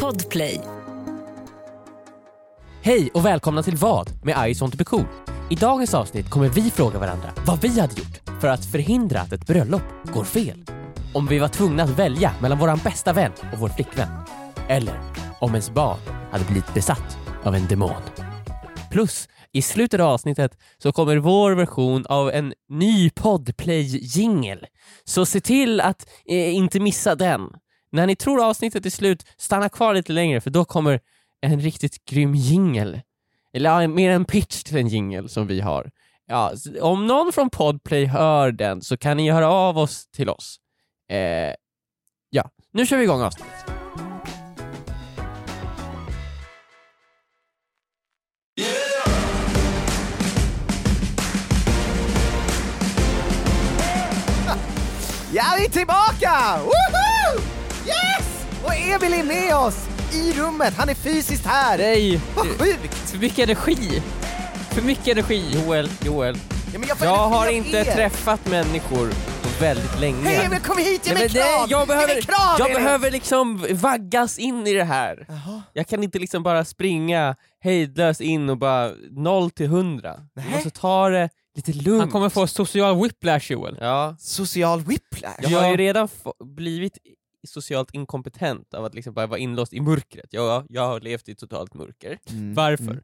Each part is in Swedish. Podplay. Hej och välkomna till Vad med I want to be cool. I dagens avsnitt kommer vi fråga varandra vad vi hade gjort för att förhindra att ett bröllop går fel. Om vi var tvungna att välja mellan våran bästa vän och vår flickvän. Eller om ens barn hade blivit besatt av en demon. Plus, i slutet av avsnittet så kommer vår version av en ny Podplay-jingel. Så se till att eh, inte missa den. När ni tror avsnittet är slut, stanna kvar lite längre för då kommer en riktigt grym jingel. Eller ja, mer en pitch till en jingel som vi har. Ja, s- om någon från Podplay hör den så kan ni höra av oss till oss. Eh, ja, nu kör vi igång avsnittet. Ja, vi är tillbaka! Woho! Yes! Och Emil är med oss i rummet. Han är fysiskt här. Nej, Vad sjukt! för mycket energi. För mycket energi. Joel, Joel. Ja, men jag får Jag energi har av inte er. träffat människor på väldigt länge. Hej Emil, kom hit! Ge Nej, mig men en nej, jag kram! Ge mig behöver, en kram, jag Emil! behöver liksom vaggas in i det här. Jaha. Jag kan inte liksom bara springa hejdlöst in och bara 0 till 100. Jag Nej. måste ta det lite lugnt. Han kommer få social whiplash Joel. Ja. Social whiplash. Jag har ju redan få- blivit socialt inkompetent av att liksom bara vara inlåst i mörkret. Jag, jag har levt i totalt mörker. Mm. Varför?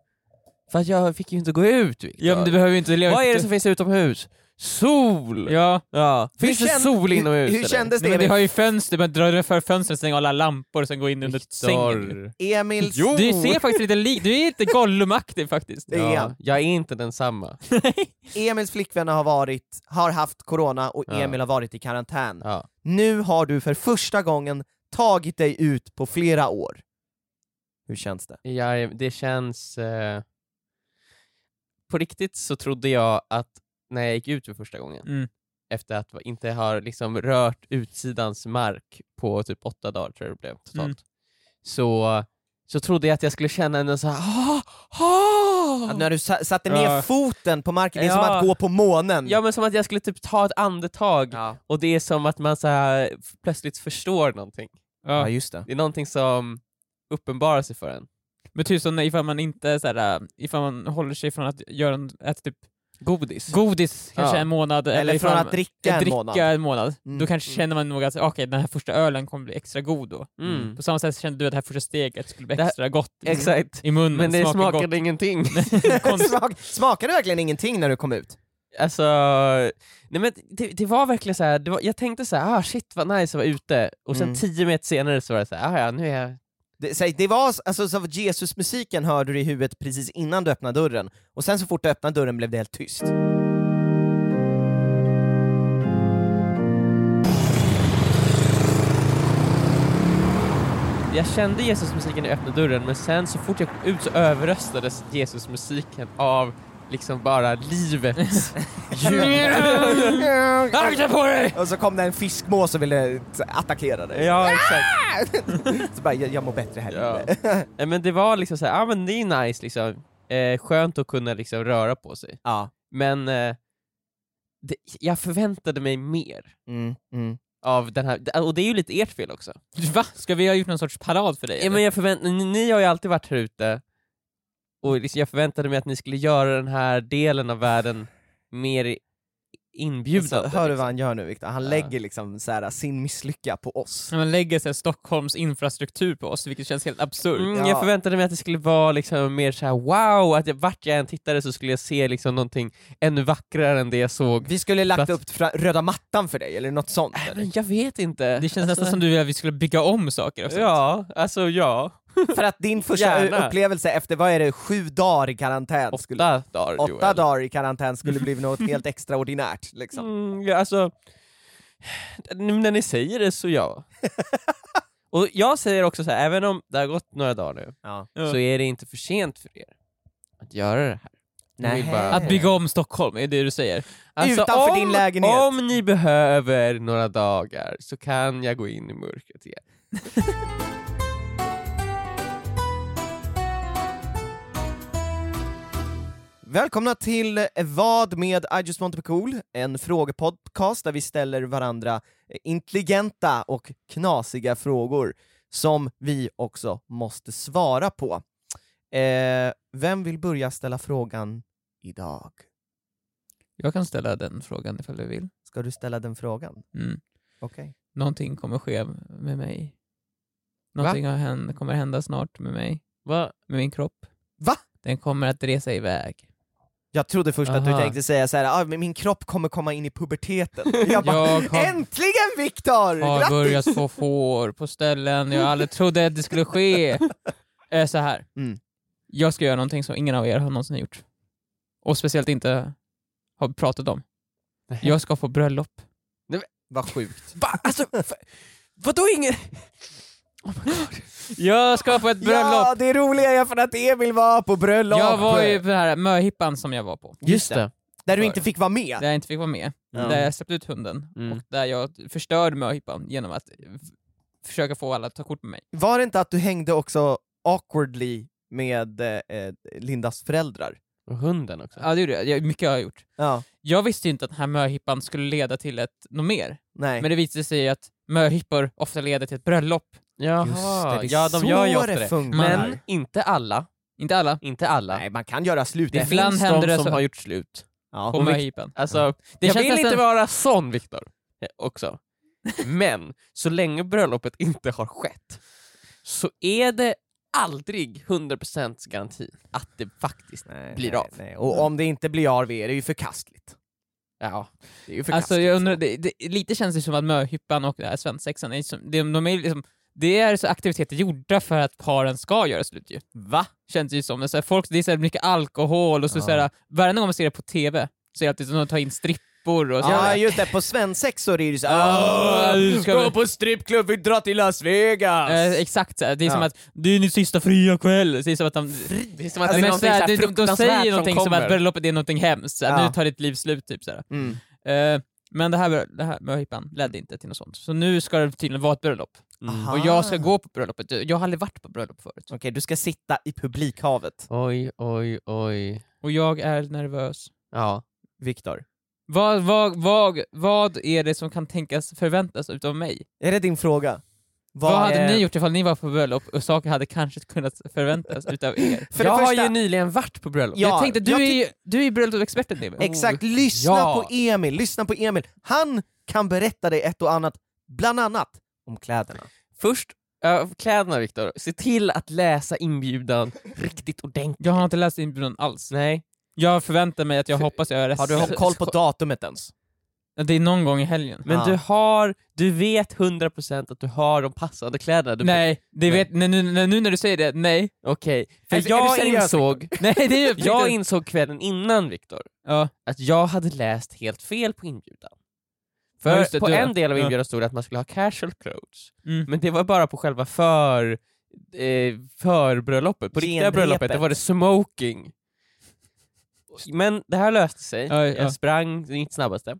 För att jag fick ju inte gå ut Viktor. Ja, men du behöver ju inte leva... Vad är det som finns utomhus? Sol! Ja, Ja. Finns Hur det kän- sol inomhus? Hur, hur eller? kändes det? Nej, men vi Emil? har ju fönster, men dra för fönstret, stäng alla lampor och sen gå in under sängen. Viktor. Emils... Jo. Du ser faktiskt lite lik, du är lite Gollum-aktig faktiskt. Det är han. Ja, jag är inte densamma. Emils flickvänner har, varit, har haft corona och Ja. Emil har varit i karantän. Ja. Nu har du för första gången tagit dig ut på flera år. Hur känns det? Jag, det känns... Eh... På riktigt så trodde jag att när jag gick ut för första gången, Mm. efter att va- inte ha liksom rört utsidans mark på typ åtta dagar tror jag det blev totalt, Mm. så, så trodde jag att jag skulle känna en så här... Ah, ah! Att när du sa- satte ner Ja. foten på marken, det är som Ja. att gå på månen. Ja men som att jag skulle typ ta ett andetag Ja. och det är som att man så här, f- plötsligt förstår någonting. ja, Ja. just det. Det är någonting som uppenbarar sig för en. Men typ som ifall man inte såhär, äh, ifall man håller sig från att göra, en- äta typ Godis. godis kanske Ja. en månad. Eller, Eller från ifall- att dricka en dricka månad. en månad. Mm. Då kanske Mm. känner man nog att okej, den här första ölen kommer bli extra god då. Mm. På samma sätt kände du att det här första steget skulle bli Det här- extra gott i- Exakt. i munnen. Mm. Men det smakar smakade ingenting. gott. Konstigt. Smak, smakade du verkligen ingenting när du kom ut? Alltså, nej men det, det var verkligen så här. Det var, jag tänkte så här, ah shit vad nice att vara ute, och sen Mm. tio meter senare så var det så här, ah, ja nu är jag... Det, säg, det var alltså, så Jesus-musiken hörde du i huvudet precis innan du öppnade dörren, och sen så fort du öppnade dörren blev det helt tyst. Jag kände Jesusmusiken i öppna dörren, men sen så fort jag kom ut så överröstades Jesusmusiken av liksom bara livets ljud. Akta på dig! och så kom det en fiskmås och ville t- attackera dig. ja exakt. Så bara, jag, jag mår bättre här Ja. inne. Nej, men det var liksom så här, ah men det är nice liksom. Eh, skönt att kunna liksom röra på sig. Ja. Men eh, det, jag förväntade mig mer Mm, mm. av den här, och det är ju lite ert fel också. Va? Ska vi ha gjort någon sorts parad för dig? Ja, eller? men jag förvänt- ni, ni har ju alltid varit här ute, och liksom jag förväntade mig att ni skulle göra den här delen av världen mer i- inbjudande. Så, hör du vad liksom. han gör nu Viktor? Han Ja. lägger liksom så här, sin misslycka på oss. När man lägger sig Stockholms infrastruktur på oss, vilket känns helt absurt. Mm, Ja. Jag förväntade mig att det skulle vara liksom mer så här: wow, att jag, vart jag än tittade så skulle jag se liksom någonting ännu vackrare än det jag såg. Vi skulle lagt Mm. Plats- upp fra- röda mattan för dig, eller något sånt. Äh, Eller? Men jag vet inte. Alltså, Det känns Alltså- nästan som du vill att vi skulle bygga om saker och sånt. Ja, alltså ja. För att din första Gärna. upplevelse efter, vad är det, sju dagar i karantän? Åtta skulle, dagar åtta Joel. dagar i karantän skulle bli något helt extraordinärt. Liksom. Mm, ja, alltså, nu när ni säger det så ja. Och jag säger också så här, även om det har gått några dagar nu, Ja. Ja. så är det inte för sent för er att göra det här. Jag vill Nähä. bara- Att bygga om Stockholm, är det du säger? Utanför din lägenhet. Alltså, Om ni behöver några dagar så kan jag gå in i mörkret igen. Välkomna till Vad med I just want to be cool, en frågepodcast där vi ställer varandra intelligenta och knasiga frågor som vi också måste svara på. Eh, vem vill börja ställa frågan idag? Jag kan ställa den frågan ifall du vill. Ska du ställa den frågan? Mm. Okej. Någonting kommer ske med mig. Någonting har hänt, kommer hända snart med mig. Va? Med min kropp. Va? Den kommer att resa iväg. Jag trodde först att du Aha. tänkte säga så här, ah, men min kropp kommer komma in i puberteten. Jag bara, Jag har, Äntligen Viktor! har Grattis! börjat få får på ställen jag aldrig trodde att det skulle ske. Eh, Så här. Mm. Jag ska göra någonting som ingen av er har någonsin gjort. Och speciellt inte har pratat om. Jag ska få bröllop. Vad sjukt. Va? Alltså, f- vadå ingen... Jag ska få ett bröllop! Ja, det roliga är för att Emil var på bröllop! jag var ju på den här möhippan som jag var på, Just det. Där du inte fick vara med. där jag inte fick vara med. Ja. Där jag släppte ut hunden Mm. och där jag förstörde möhippan genom att eh, f- försöka få alla att ta kort med mig. Var det inte att du hängde också awkwardly med eh, eh, Lindas föräldrar? Och hunden också. Ja, det gjorde jag. jag. Mycket har jag gjort. Ja. Jag visste ju inte att den här möhippan skulle leda till ett, något mer. Nej. Men det visade sig ju att möhippor ofta leder till ett bröllop. Jaha, Just det, det är ja de gör ju så ofta det det. funkar. Men inte alla. Inte alla. Inte alla. Nej, man kan göra slut. Det Ibland finns händer de det som så. har gjort slut. Ja. På Och mycket- möhippan. Alltså, Det jag känns vill inte nästan- vara sån Viktor. eh, Också. Men så länge bröllopet inte har skett så är det aldrig 100% garanti att det faktiskt... Nej, Blir nej, av. Nej. Och om det inte blir av är det ju förkastligt. Ja, Det är ju förkastligt. Alltså, jag undrar, det, det, lite känns det som att möhippan och det här svensexan, är som, de, de är liksom, det är så aktiviteter gjorda för att paren ska göra slut ju. va? Känns det ju som. Så här, folk, det är så här mycket alkohol och så, Ja. så här, varje gång man ser det på TV så är det alltid som att de tar in strippor och så Ja här. just det, på svensexor är det ju Ah, såhär nu ska vi- på strippklubb, vi drar till Las Vegas! Eh, exakt så här. det är Ja. som att det är din sista fria kväll. Det är som att de, Det är som att det är men så någonting så här, här det- de, de fruktansvärt säger som någonting som, kommer. att bröllopet är någonting hemskt, så här, Ja. nu tar ditt liv slut. Typ, så här. Mm. Eh, men det här, det här möhippan ledde inte till något sånt. Så nu ska det tydligen vara ett bröllop. Mm. Aha. Och jag ska gå på bröllopet. Jag har aldrig varit på bröllop förut. Okej, du ska sitta i publikhavet, Oj, oj, oj. Och jag är nervös. Ja. Viktor. Vad, vad, vad, vad är det som kan tänkas förväntas utav mig? Är det din fråga? Vad, hade är- ni gjort ifall ni var på bröllop och saker hade kanske kunnat förväntas utav er? För jag det första, har ju nyligen varit på bröllop. Ja, jag tänkte, du jag Oh. är ju du är ju bröllopsexperten David. Exakt, lyssna Ja. på Emil, lyssna på Emil. Han kan berätta dig ett och annat, bland annat om kläderna. Först, äh, kläderna Viktor. Se till att läsa inbjudan riktigt ordentligt. Jag har inte läst inbjudan alls. Nej. Jag förväntar mig att jag hoppas jag är rätt. Har du koll på datumet ens? Det är någon gång i helgen. Men Ah. du har, du vet 100% att du har de passande kläderna. Du nej, det vet, nej, nu, nu, nu när du säger det, nej. Okej, för Alltså, är jag du seriös, insåg, nej det är ju, jag insåg kvällen innan Viktor ja. att jag hade läst helt fel på inbjudan. Ja, För just det, på du- en del av ja. inbjudan stod det att man skulle ha casual clothes, Mm. men det var bara på själva för, eh, förbröllopet, på riktiga Genrepet. bröllopet, där var det smoking. Men det här löste sig, Ja, ja. jag sprang det gick snabbaste.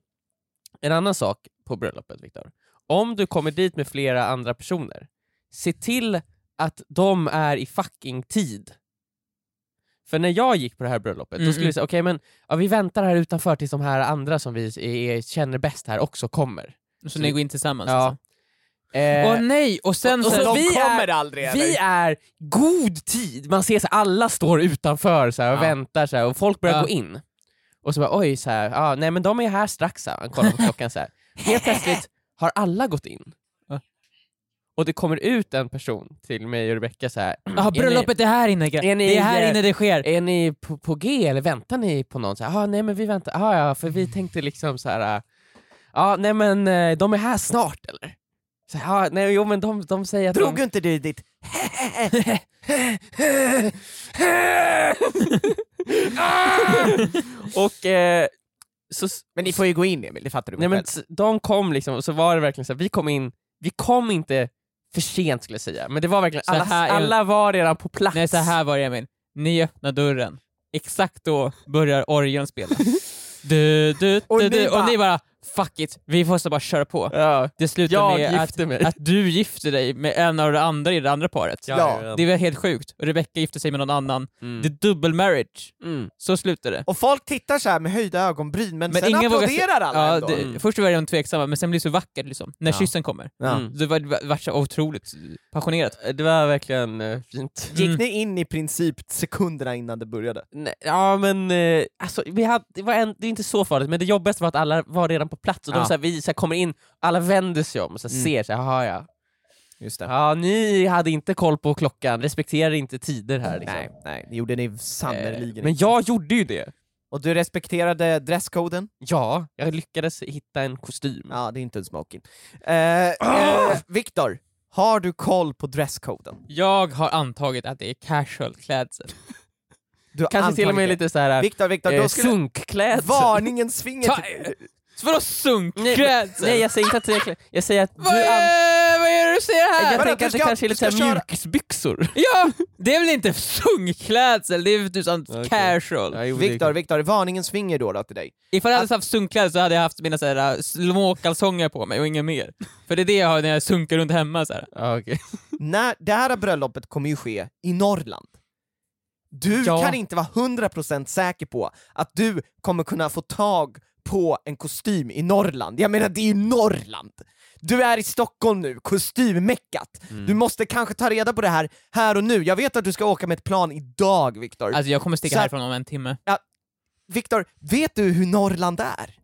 En annan sak på bröllopet Viktor, om du kommer dit med flera andra personer, se till att de är i fucking tid. För när jag gick på det här bröllopet, då Mm, skulle vi säga okej men ja, vi väntar här utanför tills de här andra som vi är, känner bäst här också kommer. Så ni går in tillsammans? Ja. alltså. Eh, Åh nej! Och sen och så, så här- vi är- aldrig vi är god tid, man ser så här, alla står utanför så här, och Ja. väntar så här, och folk börjar Ja. gå in. Och så bara oj, så här, ah, nej men de är här strax, så här. han kollar på klockan så här. Helt plötsligt har alla gått in. Ja. Och det kommer ut en person till mig och Rebecka så här. Ja, Mm. "Är ni- bröllopet är här inne. Är ni- det är här inne det sker. Är ni på, på G eller väntar ni på någon? Så här, ah, nej men vi väntar, ah, ja för vi tänkte liksom så här. ah, Ja nej men eh, de är här snart eller? Så här, ah, nej jo men de, de säger att Drog de... inte du ditt och eh, så, Men ni får ju gå in Emil, det fattar du nej, väl men, s- de kom liksom och så var det verkligen så här, vi kom in, vi kom inte för sent skulle jag säga, men det var verkligen Så alla, här är- alla var redan på plats. Nej, så här var det Emil. Ni öppnar dörren. Exakt då börjar orgeln spela. Du, du, du, Och du, ni du. bara- Och ni bara fuck it, vi måste bara köra på. Ja. Det slutar Jag med att, gifte mig. att du gifter dig med en av de andra i det andra paret. Ja. Det var helt sjukt. Och Rebecca gifte sig med någon annan. Mm. Det är dubbel marriage. Mm. Så slutar det. Och folk tittar så här med höjda ögonbryn, men, Men sen ingen vågar se- applåderar alla Ja, ändå. det, Mm. Först var de tveksamma, men sen blir det så vackert liksom, när Ja. kyssen kommer. Ja. Mm. Det var, det var så otroligt passionerat. Det var verkligen eh, fint. Gick Mm. ni in i princip sekunderna innan det började? Nej, ja men eh, alltså, vi hade, det, var en, det är inte så farligt, men det jobbigaste var att alla var redan på plats och Ja. de, så här, vi så här, kommer in, alla vänder sig om och så här, Mm. ser så här, "Jaha, ja. Just ja, ni hade inte koll på klockan, respekterar inte tider här liksom. Nej, nej, det gjorde ni Eh, sannerligen Men inte. jag gjorde ju det. Och du respekterade dresskoden? Ja, jag lyckades hitta en kostym. Mm. Ja, det är inte en smoking. Eh, Ah! eh, Viktor, har du koll på dresskoden? Jag har antagit att det är casual klädsel. Du har Kanske till och med antagit lite så här Viktor, Viktor, eh, då skulle... sunkklädsel. Varningen svinger Ta- till... Så Eh, Vadå Nej, men- sunkklädsel? nej, jag säger inte att det är klä- Jag säger att du... vad, an- är, vad är det du säger här? jag Vadå, tänker du att det ska- kanske är du lite ska så här köra- mjukisbyxor. Ja! Det är väl inte sunkklädsel? Det är väl typ sånt Okej. casual. Ja, jo, det är Viktor, Viktor, varningen svinger då, då till dig. Ifall jag hade haft sunkkläder så hade jag haft mina så här, äh, småkalsonger på mig och inget mer. För det är det jag har när jag sunkar runt hemma. Så här. Ja, okej. När, det här bröllopet kommer ju ske i Norrland. Du Ja. kan inte vara 100% säker på att du kommer kunna få tag på en kostym i Norrland. Jag menar, det är ju Norrland! Du är i Stockholm nu, kostymmeckat. Du måste kanske ta reda på det här här och nu. Jag vet att du ska åka med ett plan idag, Viktor. Alltså jag kommer sticka Så här- härifrån om en timme. Viktor, vet du hur Norrland är?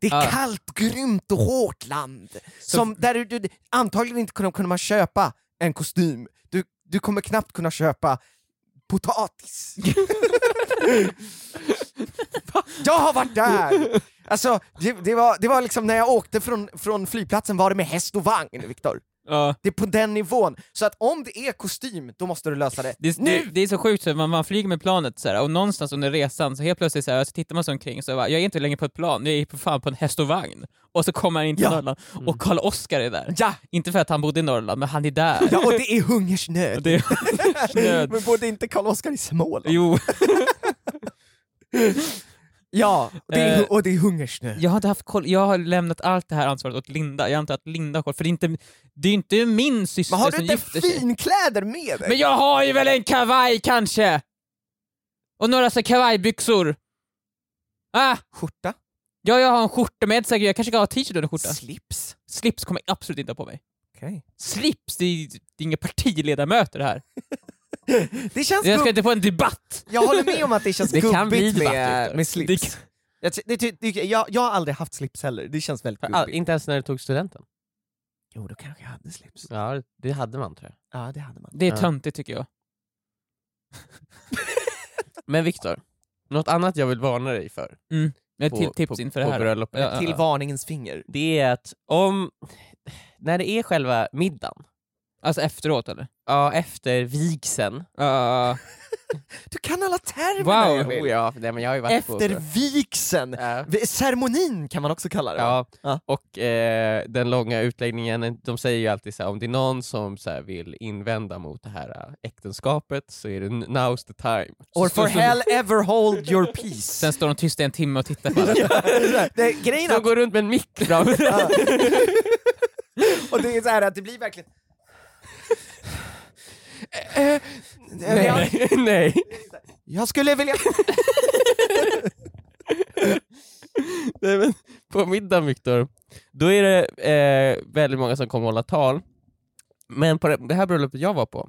Det är Ja. kallt, grymt och hårt land. Som, där du, du antagligen inte kommer kunna köpa en kostym. Du, du kommer knappt kunna köpa potatis. jag har varit där! Alltså, det, det, var, det var liksom när jag åkte från, från flygplatsen var det med häst och vagn, Viktor. Ja. Det är på den nivån. Så att om det är kostym, då måste du lösa det. Det, det, det är så sjukt, så man, man flyger med planet så här, och någonstans under resan så helt plötsligt så, här, så tittar man sig omkring så bara, jag är inte längre på ett plan, jag är på, fan på en häst och vagn. Och så kommer han in till Ja. Norrland och Karl Oskar är där. Ja, Inte för att han bodde i Norrland, men han är där. ja, och det är hungersnöd. Det är nöd. Men borde inte Karl-Oskar i Småland? Jo, Ja, det är, Eh, och det är hungersnöd. jag har inte haft koll. Jag har lämnat allt det här ansvaret åt Linda. Jag antar att Linda har koll, för det är inte, det är inte min syster Men har du som inte gifter sig. finkläder med dig? Men jag har ju väl en kavaj kanske! Och några så kavajbyxor. Ah, Skjorta? ja, jag har en skjorta, men jag är inte säker. Jag kanske ska ha t-shirt under skjortan. Slips? Slips kommer jag absolut inte ha på mig. Okej. Slips, det är, det är inga partiledamöter här. Det känns Jag ska gubb... inte på en debatt! jag håller med om att det känns Det kan bli gubbigt debatt, med, Viktor. med slips. Det- Jag, ty- det, ty- det, jag, jag har aldrig haft slips heller, det känns väldigt All, gubbigt. inte ens när du tog studenten. Jo, då kanske jag hade slips. Ja, det hade man tror jag. Ja, det hade man. Det är Ja. töntigt tycker jag. Men Viktor, något annat jag vill varna dig för Ett på, till tips på, inför på det här. bröllopet, Ja, ja, Till ja. varningens finger. det är att om... När det är själva middagen, Alltså efteråt eller? ja, efter vigseln... Ja, Du kan alla termerna Wow! Emil. Oh, ja, nej, men jag har ju varit Efter på... vigseln! Ja. V- Ceremonin kan man också kalla det. va? Ja, Ja. och eh, den långa utläggningen, de säger ju alltid så här, om det är någon som så här, vill invända mot det här eh, äktenskapet så är det n- now's the time. Or Så- for så- så- hell ever hold your peace. Sen står de tysta i en timme och tittar på alla. det, grejen är De att går runt med en mick framför sig. Ja. Och det är så här att det blir verkligen... Eh, Jag, Nej, nej. jag skulle vilja... nej men, på middagen Viktor, då är det eh, väldigt många som kommer hålla tal. Men på det, det här bröllopet jag var på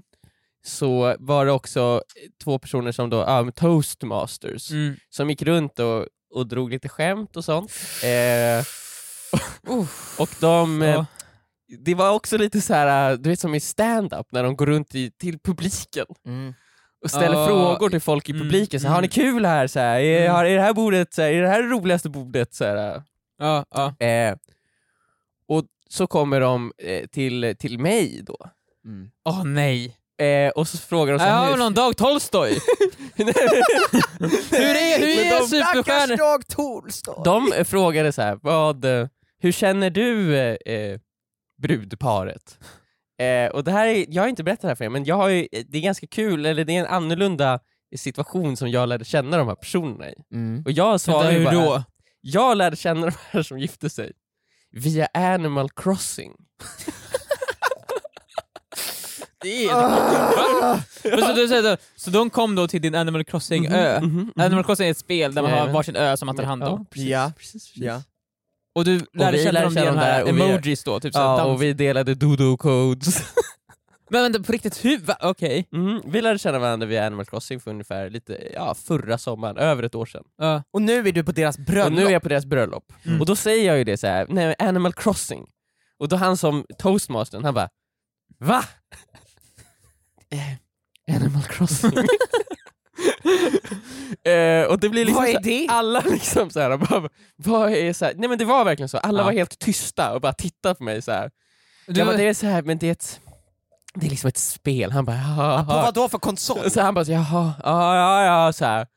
så var det också två personer som då, ah, men toastmasters, Mm. som gick runt och, och drog lite skämt och sånt. Eh, och de, eh, Ja. det var också lite så här, eh, du vet som i stand-up när de går runt i, till publiken Mm. och ställer Ah, frågor till folk i mm, publiken. Så här, har ni kul här? Så här, är, Mm. har, är det här bordet? Så här, är det här det roligaste bordet? Så här, Ja, ja. eh, och så kommer de eh, till, till mig då. Åh nej. Eh, och så frågar de så Jag här, har någon Dag Tolstoj. hur är, hur Men är de superstjärnor? Dag Tolstoj! De eh, frågade så här, vad, eh, hur känner du eh, eh, brudparet? Eh, och det här är, jag har inte berättat det här för er, men jag har ju, eh, det är ganska kul, eller det är en Mm. annorlunda situation som jag lärde känna de här personerna i. Och jag svarar ju hur bara, då? Jag lärde känna de här som gifte sig via Animal Crossing. Det är... Va? Men så, du säger, så- så de kom då till din Animal Crossing-ö. Mm. Mhm. Animal Crossing är ett spel där man har Jajamän. varsin ö som man tar hand om. precis, Ja. precis, precis. Ja. Och du lärde vi känna lärde dem via känna de dem här där och vi- emojis då, typ såhär Ja, dans. och vi delade dodo codes. Men vänta, på riktigt, hur? va? Okej. Mm, vi lärde känna varandra via Animal Crossing för ungefär lite, ja, förra sommaren, över ett år sedan. Ja. Och nu är du på deras bröllop. Och nu är jag på deras bröllop. Mm. Och då säger jag ju det så här: nej men Animal Crossing. Och då han som toastmastern, han bara VA? Eh, Animal Crossing. eh, och det blir liksom Vad så är här, det? alla liksom så här, bara, vad är så här? nej men det var verkligen så, alla Ja. var helt tysta och bara tittade på mig så här. Du, jag bara, det är så här, men det är ett, det är liksom ett spel. Han bara, Ah, jaha. På vad då för konsol? Så han bara, jaha, ja ja ja så här.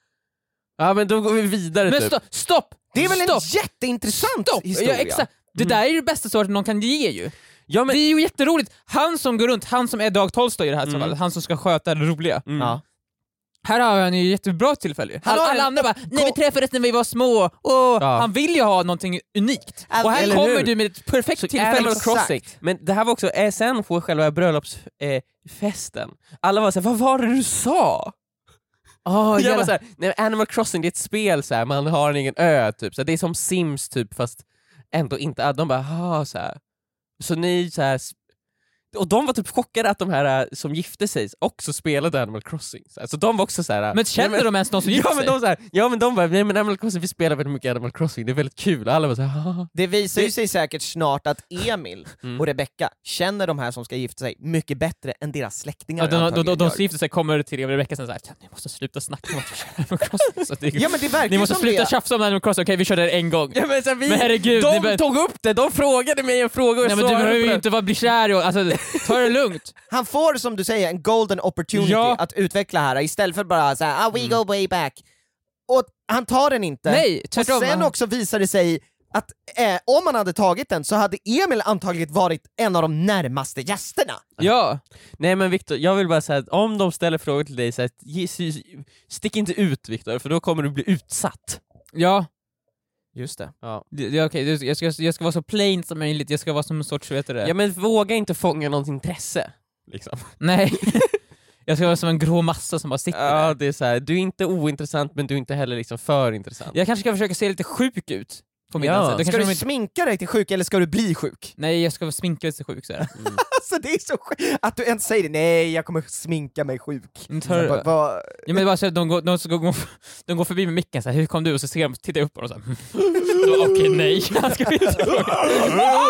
Ja men då går vi vidare men typ. sto- stopp! Det är väl stopp. en jätteintressant stopp. historia? Ja, exakt. Det där är ju det bästa svaret någon kan ge ju. Ja, men- Det är ju jätteroligt. Han som går runt, han som är Dag Tolstoj i det här Mm. fallet, han som ska sköta det roliga. Mm. Ja. Här har han ju jättebra tillfälle. Han All, har alla en andra bara “Nej vi uppgå- träffades när vi var små”. Åh. Ja. Han vill ju ha någonting unikt. Alltså, och här eller kommer hur? du med ett perfekt tillfälle. Animal Exakt. Crossing. Men det här var också, eh, sen på själva bröllopsfesten, eh, festen. alla var såhär, vad var det du sa? Oh, jag var såhär, nej, men Animal Crossing det är ett spel, såhär, man har ingen ö, typ. Såhär, det är som Sims typ fast ändå inte, de bara ha såhär. Så ni såhär, sp- och de var typ chockade att de här eh, som gifte sig också spelade Animal Crossing. Såhär. Så de var också såhär... men känner nej, de ens någon som gifter Ja men, sig? de såhär, ja men de bara, nej men Animal Crossing, vi spelar väldigt mycket Animal Crossing, det är väldigt kul. Och alla var såhär, haha. Det visar ju sig säkert snart att Emil Mm. och Rebecca känner de här som ska gifta sig mycket bättre än deras släktingar Ja, de, de, antagligen de, de gör. som gifter sig kommer till er och Rebecka sen såhär “Ni måste sluta snacka om att vi kör Animal Crossing”. Så att det är- Ja men det verkar Ni ju måste som sluta det. tjafsa om Animal Crossing, okej vi körde det en gång. Ja, men, såhär, vi, Men herregud, ni de bör- tog upp det, de frågade mig en fråga och Nej jag men du svarade behöver på ju den. inte vara bli kär i alltså, ta det lugnt. Han får som du säger en golden opportunity Ja. Mm. att utveckla här istället för bara så här, ah, we go way back. Och han tar den inte. Nej, och tvärtom. sen också visar det sig att eh, om han hade tagit den så hade Emil antagligen varit en av de närmaste gästerna. Ja, Nej men Viktor, jag vill bara säga att om de ställer frågor till dig, så här, ge- sy- stick inte ut Viktor, för då kommer du bli utsatt. ja. Just det. Ja. Det, det, är okej, det- jag, ska, jag ska vara så plain som möjligt, jag ska vara som en sorts, vet du det? ja men våga inte fånga någons intresse. Liksom. Nej. jag ska vara som en grå massa som bara sitter Ja, där. det är så här, du är inte ointressant men du är inte heller liksom för intressant. Jag kanske ska försöka se lite sjuk ut på Ja. middagen sen. Ska Då kanske de du inte... sminka dig till sjuk eller ska du bli sjuk? Nej, jag ska sminka mig så sjuk sådär. Alltså det är så sjukt att du ens säger det. Nej, jag kommer sminka mig sjuk. Mm, tar- Va, va, Ja, men det är bara så att de, går, de, ska gå, de går förbi med micken så här, hur kom du? Och så ser de, tittar jag upp på dem så här. Då, Okej, nej. Han ska inte fråga.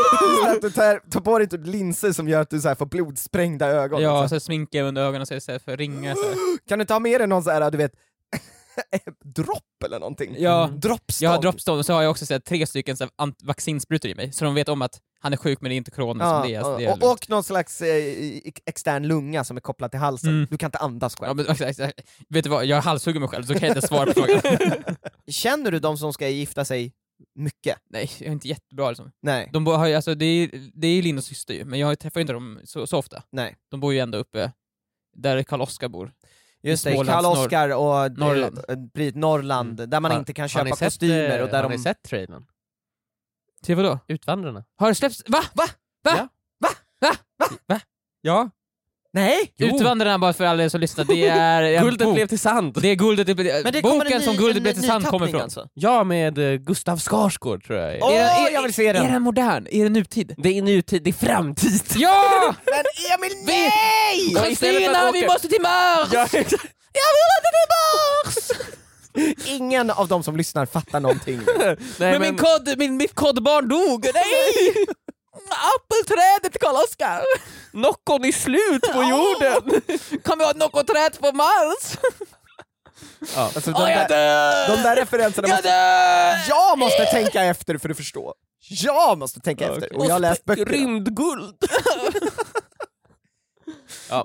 Så att du tar, tar på dig typ linser som gör att du så här får blodsprängda ögon. Ja, liksom. så här, sminkar jag under ögonen så är det så här för ringar så här. Kan du ta med dig någon så här, du vet, dropp eller någonting? Mm. Ja. Droppstång. Jag har droppstånd och så har jag också så här, tre stycken så här, ant- vaccinsprutor i mig, så de vet om att han är sjuk men det är inte corona Ja, som det är. Så det är och, och någon slags eh, i- extern lunga som är kopplad till halsen. Mm. Du kan inte andas själv. Ja, men, exakt, exakt. vet du vad, jag halshugger mig själv så kan jag inte svara på frågan. Känner du de som ska gifta sig mycket? Nej, jag är inte jättebra liksom. Nej. De bor, har, ju- alltså, det, är, det är ju Lindas syster ju, men jag träffar ju inte dem så, så ofta. Nej. De bor ju ändå uppe där Karl-Oskar bor. Just det, Smålands- Karl-Oskar och eh, Norrland. Mm. eh, Britt Norrland, där man Har- inte kan Har ni köpa sett, kostymer eh, och där har ni de... sett trailern? Till vadå? Utvandrarna. Har det släppts? Va? Va? Va? Ja. Va? Va? Va? Ja. Nej! Jo. Utvandrarna bara för alla er som lyssnar, det är en Guldet bok. blev till sand! Det är guldet, det blev- Men det kommer boken en ny- som guldet en blev till sand kommer nytappning ifrån. Alltså. Ja, med eh, Gustav Skarsgård tror jag. Åh, Är den- är- jag vill se den! Är den modern? Är den nutid? Det är nutid, det är framtid! Ja! Men Emil, Vi- nej! Ja, istället för att Kristina, vi åka- måste till Mars! Ja, exakt. Ingen av de som lyssnar fattar någonting. Nej, Men, min kod, min, mitt kodbarn dog! Nej! Appelträdet Karl-Oskar! Nockon är slut på jorden! Kan vi ha något träd på Mars? Alltså, de, Åh, där, jag dör! de där referenserna Jag måste... dör! Jag måste tänka efter för att förstå. Jag måste tänka Ja, efter. okej. Och jag har läst böckerna. Rymdguld!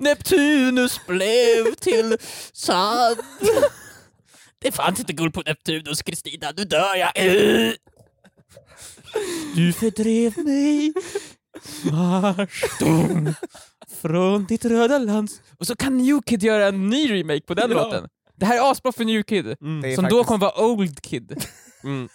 Neptunus blev till sand. Det fanns inte guld på Neptunus, Kristina. Nu dör jag. Eh. Du fördrev mig, Mars, dum, från ditt röda land. Och så kan New Kid göra en ny remake på den Ja. Mm. låten. Det här är asbra för New Kid, Det är som då faktiskt- kommer vara Old Kid. Mm.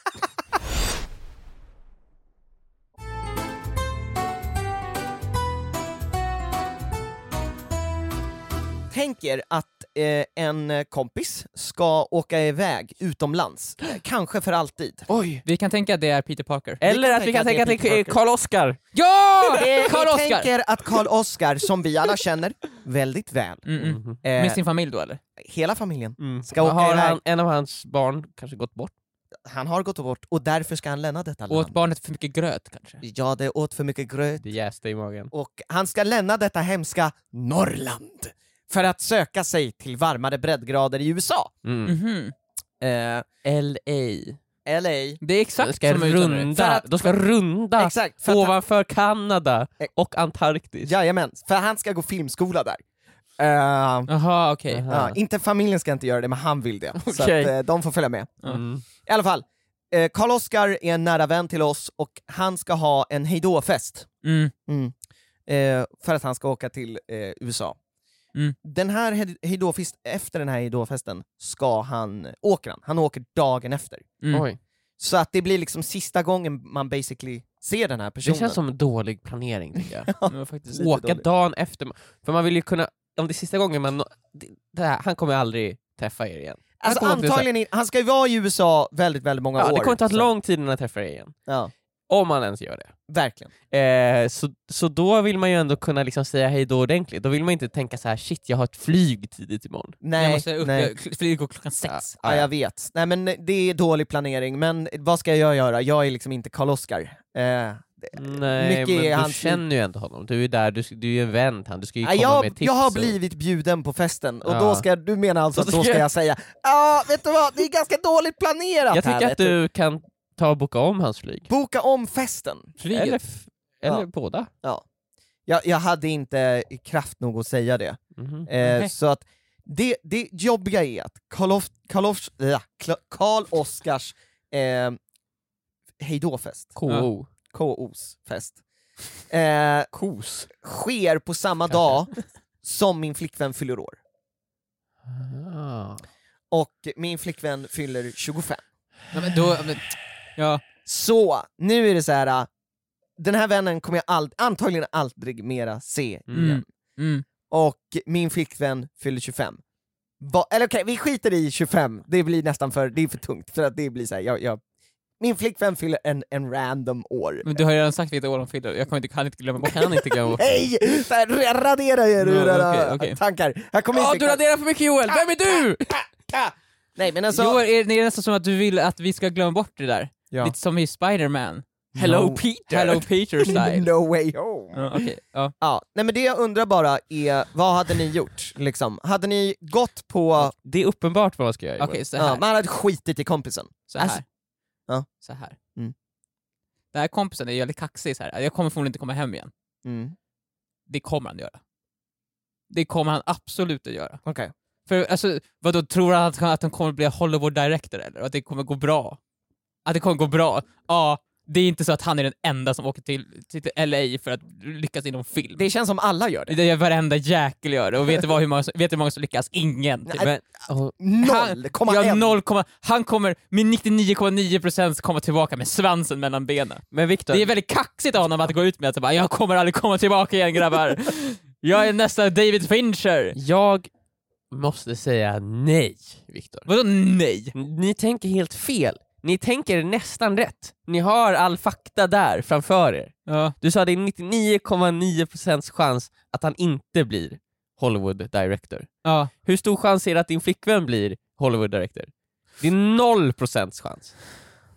Tänk er att eh, en kompis ska åka iväg utomlands, eh, kanske för alltid. Oj. Vi kan tänka att det är Peter Parker. Eller att vi kan tänka att det är Karl Oskar. Ja! Karl Vi Oskar! tänker att Karl Oskar, som vi alla känner väldigt väl, Mm, mm. eh, Med sin familj då eller? hela familjen, ska åka Mhm. Har iväg. han, en av hans barn kanske gått bort? Han har gått bort och därför ska han lämna detta Åt land. barnet för mycket gröt kanske? Ja, det åt för mycket gröt Det jäste i magen. och han ska lämna detta hemska Norrland för att söka sig till varmare breddgrader i USA. Mm. Mhm. Eh, L.A. LA. Det är exakt Ska som jag uttalade det. runda, de ska runda Exakt. För att han, ovanför Kanada Ex- och Antarktis. jajamän, för han ska gå filmskola där. Eh, Jaha okej. Aha. ja, inte familjen ska inte göra det, men han vill det. Så att, Okej. eh, de får följa med. Mm. I alla fall, eh, Karl Oskar är en nära vän till oss och han ska ha en hejdåfest Mm. eh, för att han ska åka till eh, USA. Mm. Den här hej- hejdåfest, efter den här hejdåfesten ska han, åker han. Han åker dagen efter. Mm. Oj. Så att det blir liksom sista gången man basically ser den här Det personen. känns som en dålig planering tycker jag. Det var faktiskt... Lite Åka dåligt. dagen efter, för man vill ju kunna, om det är sista gången man... Det, det här, han kommer aldrig träffa er igen. Han alltså, kommer inte- antagligen, in- han ska ju vara i USA väldigt, väldigt många Ja, år. det kommer ta så- lång tid innan han träffar er igen. Ja, Om han ens gör det. verkligen. Eh, så, så då vill man ju ändå kunna liksom säga hej då ordentligt. Då vill man inte tänka så här shit jag har ett flyg tidigt imorgon. Nej, Jag måste upp, nej. jag kl- flyger går klockan sex. Ja, jag vet. Nej men det är dålig planering, men vad ska jag göra? Jag är liksom inte Karl-Oskar. Eh, Nej, Mycket är men du hans- känner ju ändå honom. Du är ju där, du, du är ju en vän till han. Du ska ju komma Nej, jag, med tips. jag har och- blivit bjuden på festen, och Ja. då ska, du menar alltså att Då ska då ska jag- jag säga ja, vet du vad, det är ganska dåligt planerat Jag här, tycker vet att du kan ta och boka om hans flyg. Boka om festen. Flyget. Eller, f- eller Ja. båda. Jag, jag hade inte kraft nog att säga det. Mhm. Eh, Nej. Så att det, det jobbiga är att Karl Of- Karl Of- ja, Kla- Karl Oskars eh, hejdåfest, KO. KOs fest, eh, Kos. sker på samma dag som min flickvän fyller år. Ah. Och min flickvän fyller 25. Ja, men då, men, ja. Så nu är det så här. äh, den här vännen kommer jag ald- antagligen aldrig mera se Mm. igen. Mm. Och min flickvän fyller 25. Va- Eller okej, vi skiter i 25, det blir nästan för, det är för tungt. För att det blir så här, jag, jag, min flickvän fyller en, en random år. men du har ju redan sagt vilket år de fyller, jag kommer inte, kan inte glömma bort Kan inte glömma bort. Hej! Så här, ra- radera er ur Ja, era okej, okej. tankar. Jag kommer Ja, inte... du raderar för mycket Joel! Vem är du? Nej men alltså... Joel, är, det är nästan som att du vill att vi ska glömma bort det där. Ja. Lite som i Spider-Man. Hello, No. Peter! Hello Peter style. No way home. ja, okej, ja. Ja, nej men det jag undrar bara är, vad hade ni gjort? Liksom? Hade ni gått på... Det är uppenbart vad man ska göra Joel. Okej, så Ja, här. man hade skitit i kompisen. Så här. Alltså- Ja. Så här. Mm. Den här kompisen är jävligt kaxig så här. jag kommer förmodligen inte komma hem igen. Mm. Det kommer han göra. Det kommer han absolut att göra. Okej. För alltså, vadå, tror han att han, att han kommer bli Hollywood director eller? Och Att det kommer gå bra? Att det kommer gå bra? Ja, det är inte så att han är den enda som åker till, till LA för att lyckas inom film. Det känns som alla gör det. Det är varenda jäkel gör det, och vet du, vad, hur, många, som- vet du hur många som lyckas? Ingen! Typ. Nej, Men, åh, Noll, komma Ja, en. noll komma, han kommer med 99,9% komma tillbaka med svansen mellan benen. men Viktor, Det är väldigt kaxigt av honom att gå ut med att så bara, jag kommer aldrig komma tillbaka igen grabbar. Jag är nästa David Fincher. jag måste säga nej, Viktor. Vadå nej? Ni tänker helt fel. Ni tänker nästan rätt. Ni har all fakta där framför er. Ja. Du sa det är 99,9% chans att han inte blir Hollywood director. Ja. Hur stor chans är det att din flickvän blir Hollywood director? Det är 0% chans.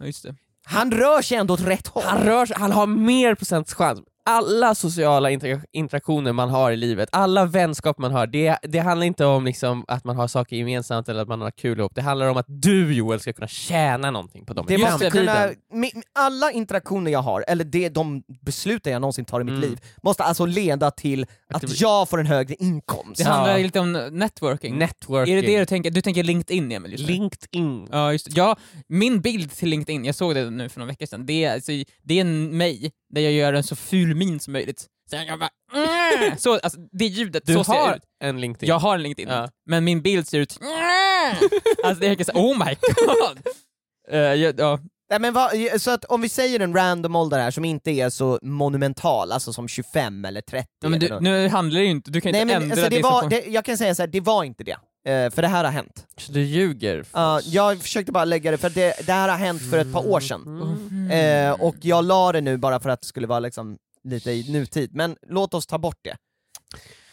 just det. Han rör sig ändå åt rätt håll. Han, rör, sig- han har mer procents chans. Alla sociala inter- interaktioner man har i livet, alla vänskap man har, det, det handlar inte om liksom att man har saker gemensamt eller att man har kul ihop. Det handlar om att du Joel ska kunna tjäna någonting på dem Det i måste framtiden. kunna, Alltså, mi- mi- alla interaktioner jag har, eller det, de besluten jag någonsin tar i mitt Mm. liv, måste alltså leda till att det blir- jag får en högre inkomst. Det handlar ju lite om networking. Networking. Är det det du tänker? Du tänker LinkedIn Emil? Just nu? LinkedIn. Ja, just det. Ja, min bild till LinkedIn, jag såg det nu för några veckor sedan, det är, alltså, det är en mig där jag gör en så ful min som möjligt. Sen jag bara, "Mm." så, alltså, det ljudet, Du så ser jag har ut. en LinkedIn. Jag har en LinkedIn, Ja. men min bild ser ut... alltså det är verkligen såhär, oh my god! Eh, jag, ja, Nej, men vad, så att om vi säger en random ålder här som inte är så monumental, alltså som 25 eller 30 Ja, men eller du, något. nu handlar det ju inte, du kan ju Nej inte men ändra alltså, det det, var, som det, jag kan säga så här, det var inte det. Eh, för det här har hänt. Så du ljuger? för Ja, oss. jag försökte bara lägga det, för det, det här har hänt för ett par år sedan. Eh, och jag la det nu bara för att det skulle vara liksom lite i nutid, men låt oss ta bort det.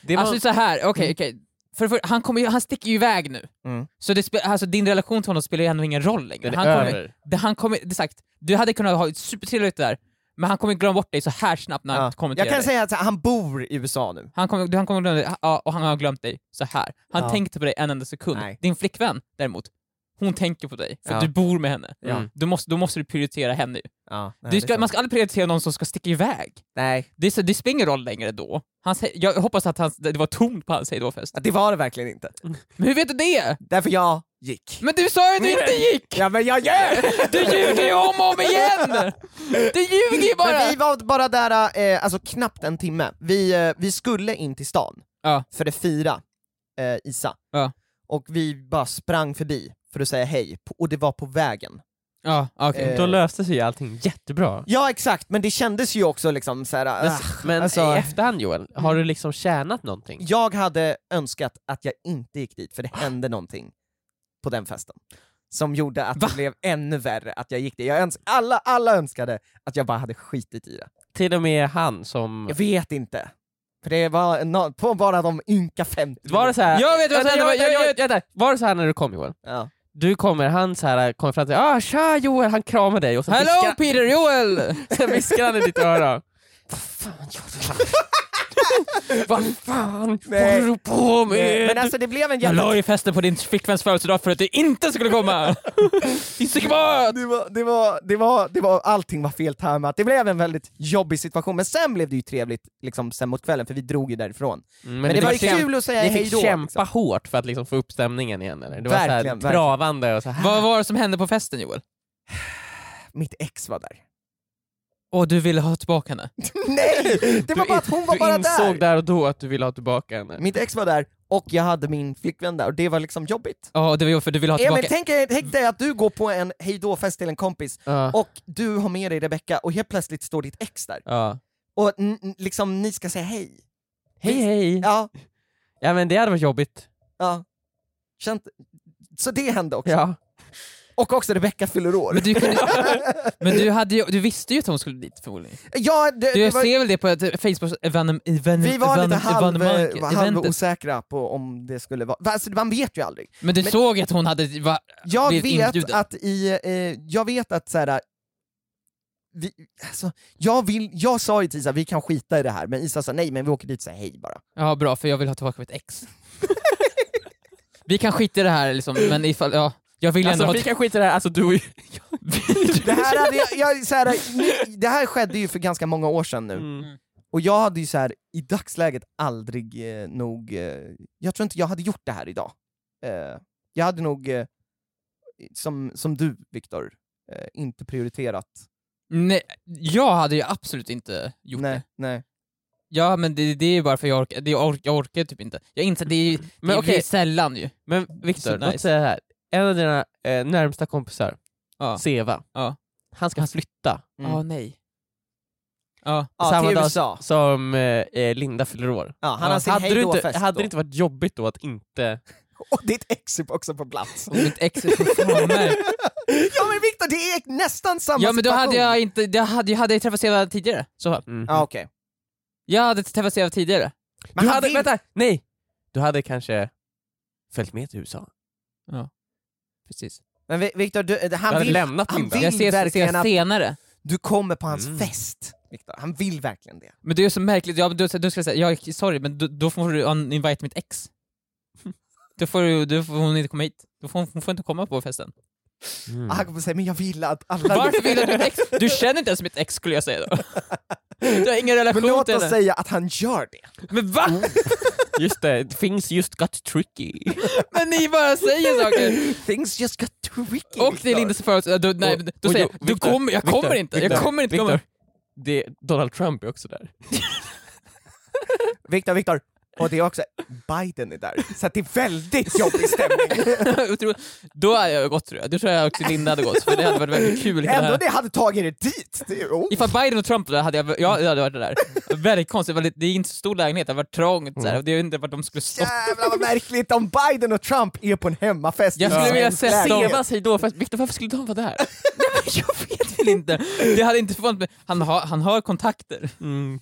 det var... Alltså så här, okej, okej. För, för, han, kommer, ju- han sticker ju iväg nu. Mm. Så det spe, alltså, din relation till honom spelar ju ändå ingen roll längre. den är Han kommer, över. det, han kommer, det är sagt, du hade kunnat ha ett supertrevligt där, men han kommer glömma bort dig så här snabbt när Ja. han Jag kommenterar kan dig. säga att så här, han bor i USA nu. Han kommer, du- han kommer glömma dig, ja, och han har glömt dig så här. Han Ja. tänkte på dig en enda sekund. Nej. Din flickvän däremot, hon tänker på dig, för Ja. du bor med henne. Ja. Mm. Du måste, då måste du prioritera henne ju. Ja, nej, du det är ska, sant. man ska aldrig prioritera någon som ska sticka iväg. Nej, Det, är så, det spelar ingen roll längre då. Han, sä- jag hoppas att han, det var tomt på hans hejdåfest. det var det verkligen inte. Men hur vet du det? Därför jag gick. Men du sa ju att du inte gick! Ja men jag ljög! Du ljuger ju om och om igen! Du ljuger ju Men bara! vi var bara där eh, alltså knappt en timme. Vi, eh, vi skulle in till stan Ja. för att fira eh, Isa. Ja. Och vi bara sprang förbi för att säga hej, på- och det var på vägen. Ja, okej. Eh, Då löste sig ju allting jättebra. Ja exakt, men det kändes ju också liksom såhär, ah, Men alltså- i efterhand Joel, har du liksom tjänat någonting? jag hade önskat att jag inte gick dit Ah. för det hände någonting på den festen. Som gjorde att Va? det blev ännu värre att jag gick dit. Jag öns- alla, alla önskade att jag bara hade skitit i det. Till och med han som... Jag vet inte. För det var no- på bara de ynka 50 Var det så här... Jag vet vad som Vänta, hände, vänta, jag- vänta, jag- vänta. Var det så här när du kom Joel? Ja. Du kommer, han så här, kommer fram till dig, ah, tja Joel, han kramar dig och sen Hello viskar, Peter Joel! sen viskar han i ditt öra. Vad fan Joel? Vad fan Nej. håller du på med? Mm, Men alltså det blev en Jag jävla... la ju festen på din flickväns födelsedag för att du inte skulle komma! Din psykopat! Det var, det var, det var, det var, allting var fel tajmat, det blev en väldigt jobbig situation, men sen blev det ju trevligt liksom, sen mot kvällen för vi drog ju därifrån. Mm, Men, det, var ju kämpa- kul att säga Ni hej fick då. kämpa liksom. hårt för att liksom få upp stämningen igen eller? Det var så här Verkligen, verkligen. travande och så här. Vad var det som hände på festen Joel? Mitt ex var där. Åh, du ville ha tillbaka henne? Nej! Du Det var bara in- att hon var du bara insåg där! där och då att du ville ha tillbaka henne. Mitt ex var där och jag hade min flickvän där och det var liksom jobbigt. Ja, det var för du ville ha Emil, tillbaka... tänk, tänk dig att du går på en hejdå-fest till en kompis Ja. och du har med dig Rebecka och helt plötsligt står ditt ex där. Ja. Och n- n- liksom ni ska säga hej. Hej hej! Ja. Ja, men det hade varit jobbigt. ja. Känt... Så det hände också. Ja. Och också Rebecka fyller år. Men, du kunde, men du, hade ju, du visste ju att hon skulle dit förmodligen. Ja, det, Du, det jag var, ser väl det på ett Facebook-event. vi var lite halv, halv osäkra på om det skulle vara... Alltså, man vet ju aldrig. Men du men- såg att hon hade... Va, Jag Blev vet inbjuden. att i... Eh, jag vet att så här, vi, alltså, jag, vill, jag sa ju till Isa, vi kan skita i det här, men Isa sa nej, men vi åker dit och säger hej bara. ja, bra, för jag vill ha tillbaka mitt ex. vi kan skita i det här, liksom, men ifall... Ja, jag vill ändå Alltså ha... vi kan skita i det här, alltså du och Det här, hade jag, jag, så här, nu- det här skedde ju för ganska många år sedan nu, Mm. och jag hade ju så här, i dagsläget aldrig eh, nog... Eh, jag tror inte jag hade gjort det här idag. Eh, jag hade nog, eh, som, som du Viktor, eh, inte prioriterat. Nej, jag hade ju absolut inte gjort nej, det. nej. Ja, men det, det är ju bara för jag orkar, det, jag orkar, jag orkar typ inte. Jag inser det är ju det Men är okej. sällan ju. Men Viktor, Så låt nice. säga det här. En av dina eh, närmsta kompisar, Ja. Seva, Ja. han ska flytta Ja, Mm. nej. Ja. Ja, samma till dag USA. som eh, eh, Linda fyller år. Ja, han har sin hade det inte, hejdå-fest hade då. det inte varit jobbigt då att inte... Och ditt ex är också på plats. Och mitt ex är fortfarande... ja men Viktor, det är nästan samma Ja men då situation. hade jag inte, jag hade, jag hade träffat Eva tidigare så fall. Mm. Ja okej. Jag hade träffat Eva tidigare. Men du han hade, vill- Vänta, nej! Du hade kanske följt med till USA. Precis. Men Vi- Viktor, du- Du han hade vill, lämnat han Linda. vill Jag ses, ses verkligen att senare. du kommer på hans Mm. fest. Viktor, han vill verkligen det. Men det är ju så märkligt, ja, men då, då ska jag säga, jag, sorry men då, då får du invite mitt ex. Då får, du, då får hon inte komma hit. Då får hon, hon får inte komma på festen. Mm. Han kommer säga men jag vill att alla... Varför vill du att mitt ex? Du känner inte ens mitt ex skulle jag säga då. Du har ingen men relation låt till oss henne. säga att han gör det. Men va? Just det, things just got tricky. Men ni bara säger saker! Things just got tricky. Och det är Viktor. Lindas födelsedag, då, nej, Och- då och säger jo, jag, du Victor, kommer, jag Victor, kommer inte, jag Victor, kommer inte Victor. komma. Det, Donald Trump är också där. Viktor, Viktor. Och det är också, Biden är där. Så att det är väldigt jobbig stämning. Jag tror- då hade jag gått tror jag. Då tror jag också Linda hade gått, för det hade varit väldigt kul. hela- Ändå det hade tagit er dit. Det, är- oh. Ifall Biden och Trump var där hade jag, ja, jag hade varit där. Väldigt konstigt, väldigt- det är inte så stor lägenhet, det var trångt så här. och det är inte vart de skulle stå. Jävlar vad märkligt om Biden och Trump är på en hemmafest Jag skulle i en vilja svensk säga lägenhet. Stevas hej då, fast Viktor varför skulle de vara där? Nej, men jag vet väl inte. Det hade inte förvånat mig. Han har, han har kontakter. Mm.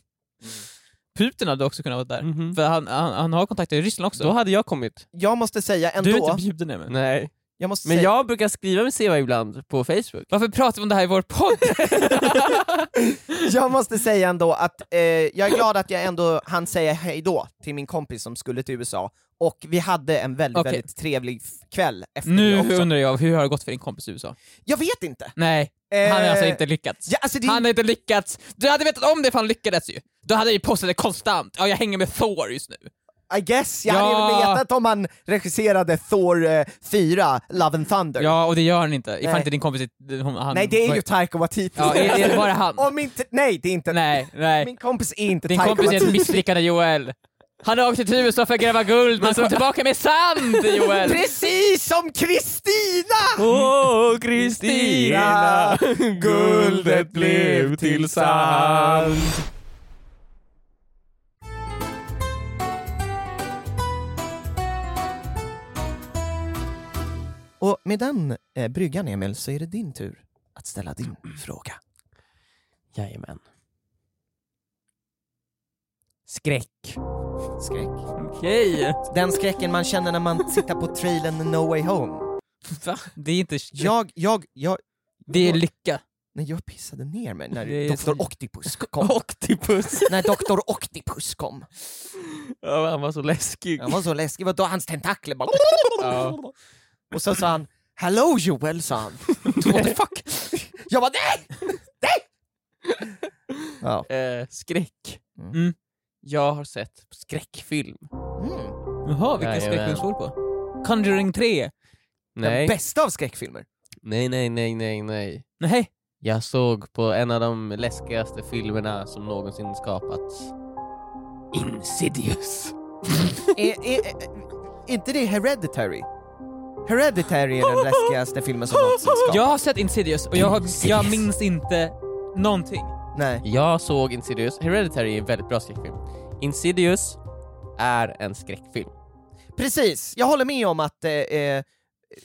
Putin hade också kunnat vara där, för han, han, han har kontakter i Ryssland också. Mhm. Då hade jag kommit. Jag måste säga du är typ- inte ändå, bjuden Emil. Nej. jag måste Men säga, jag brukar skriva med Seva ibland på Facebook. Varför pratar vi om det här i vår podd? jag måste säga ändå att eh, jag är glad att jag ändå hann säga hej då till min kompis som skulle till USA, och vi hade en väldigt, Okej. väldigt trevlig f- kväll efter nu det också. undrar jag, hur har det gått för din kompis i USA? Jag vet inte! Nej, han har alltså Eh, inte lyckats. Ja, alltså det, Han har inte lyckats. Du hade vetat om det för han lyckades ju. Då hade jag ju postat det konstant. Ja, jag hänger med Thor just nu. I guess, jag hade Ja. ju vetat om han regisserade Thor eh, 4, Love and Thunder. Ja, och det gör han inte. Ifall Nej. inte din kompis... är- Hon, han, Nej det är var- ju Taika Waititi. Ja, är, är det bara han? Om inte, nej det är inte, Nej, nej. min kompis är inte Din Taika kompis är Waititi. ett misslyckande Joel. Han har åkt till USA för att gräva guld, Alltså- men kom tillbaka med sand Joel! Precis som Kristina! Åh, Kristina, guldet blev till sand. Och med den eh, bryggan Emil, så är det din tur att ställa din fråga. Jajamän. Skräck. Skräck. Okej. Den skräcken man känner när man sitter på trailern No Way Home. Va? Det är inte... Jag, jag, jag, Det är lycka. nej, jag pissade ner mig när Det är Dr. så- Octopus kom. när Dr. Octopus kom. Ja, han var så läskig. Han var så läskig, vadå hans tentakler bara... Ja. Och så sa han Hello Joel, sa han. What the fuck? Jag bara nej! Nej! Ja. Eh, skräck. Mm. Mm. Jag har sett skräckfilm. Mm. Jaha, vilken Jajamän. skräckfilm står det på? Conjuring 3? Nej. Den bästa av skräckfilmer. nej, nej, nej, nej, nej. Nej. Jag såg på en av de läskigaste filmerna som någonsin skapats. Insidious. är, är, är inte det Hereditary? Hereditary är den läskigaste filmen som någonsin skapats. Jag har sett Insidious och jag, har, jag minns inte någonting. Nej. Jag såg Insidious. Hereditary är en väldigt bra skräckfilm. Insidious är en skräckfilm. Precis, jag håller med om att eh, eh,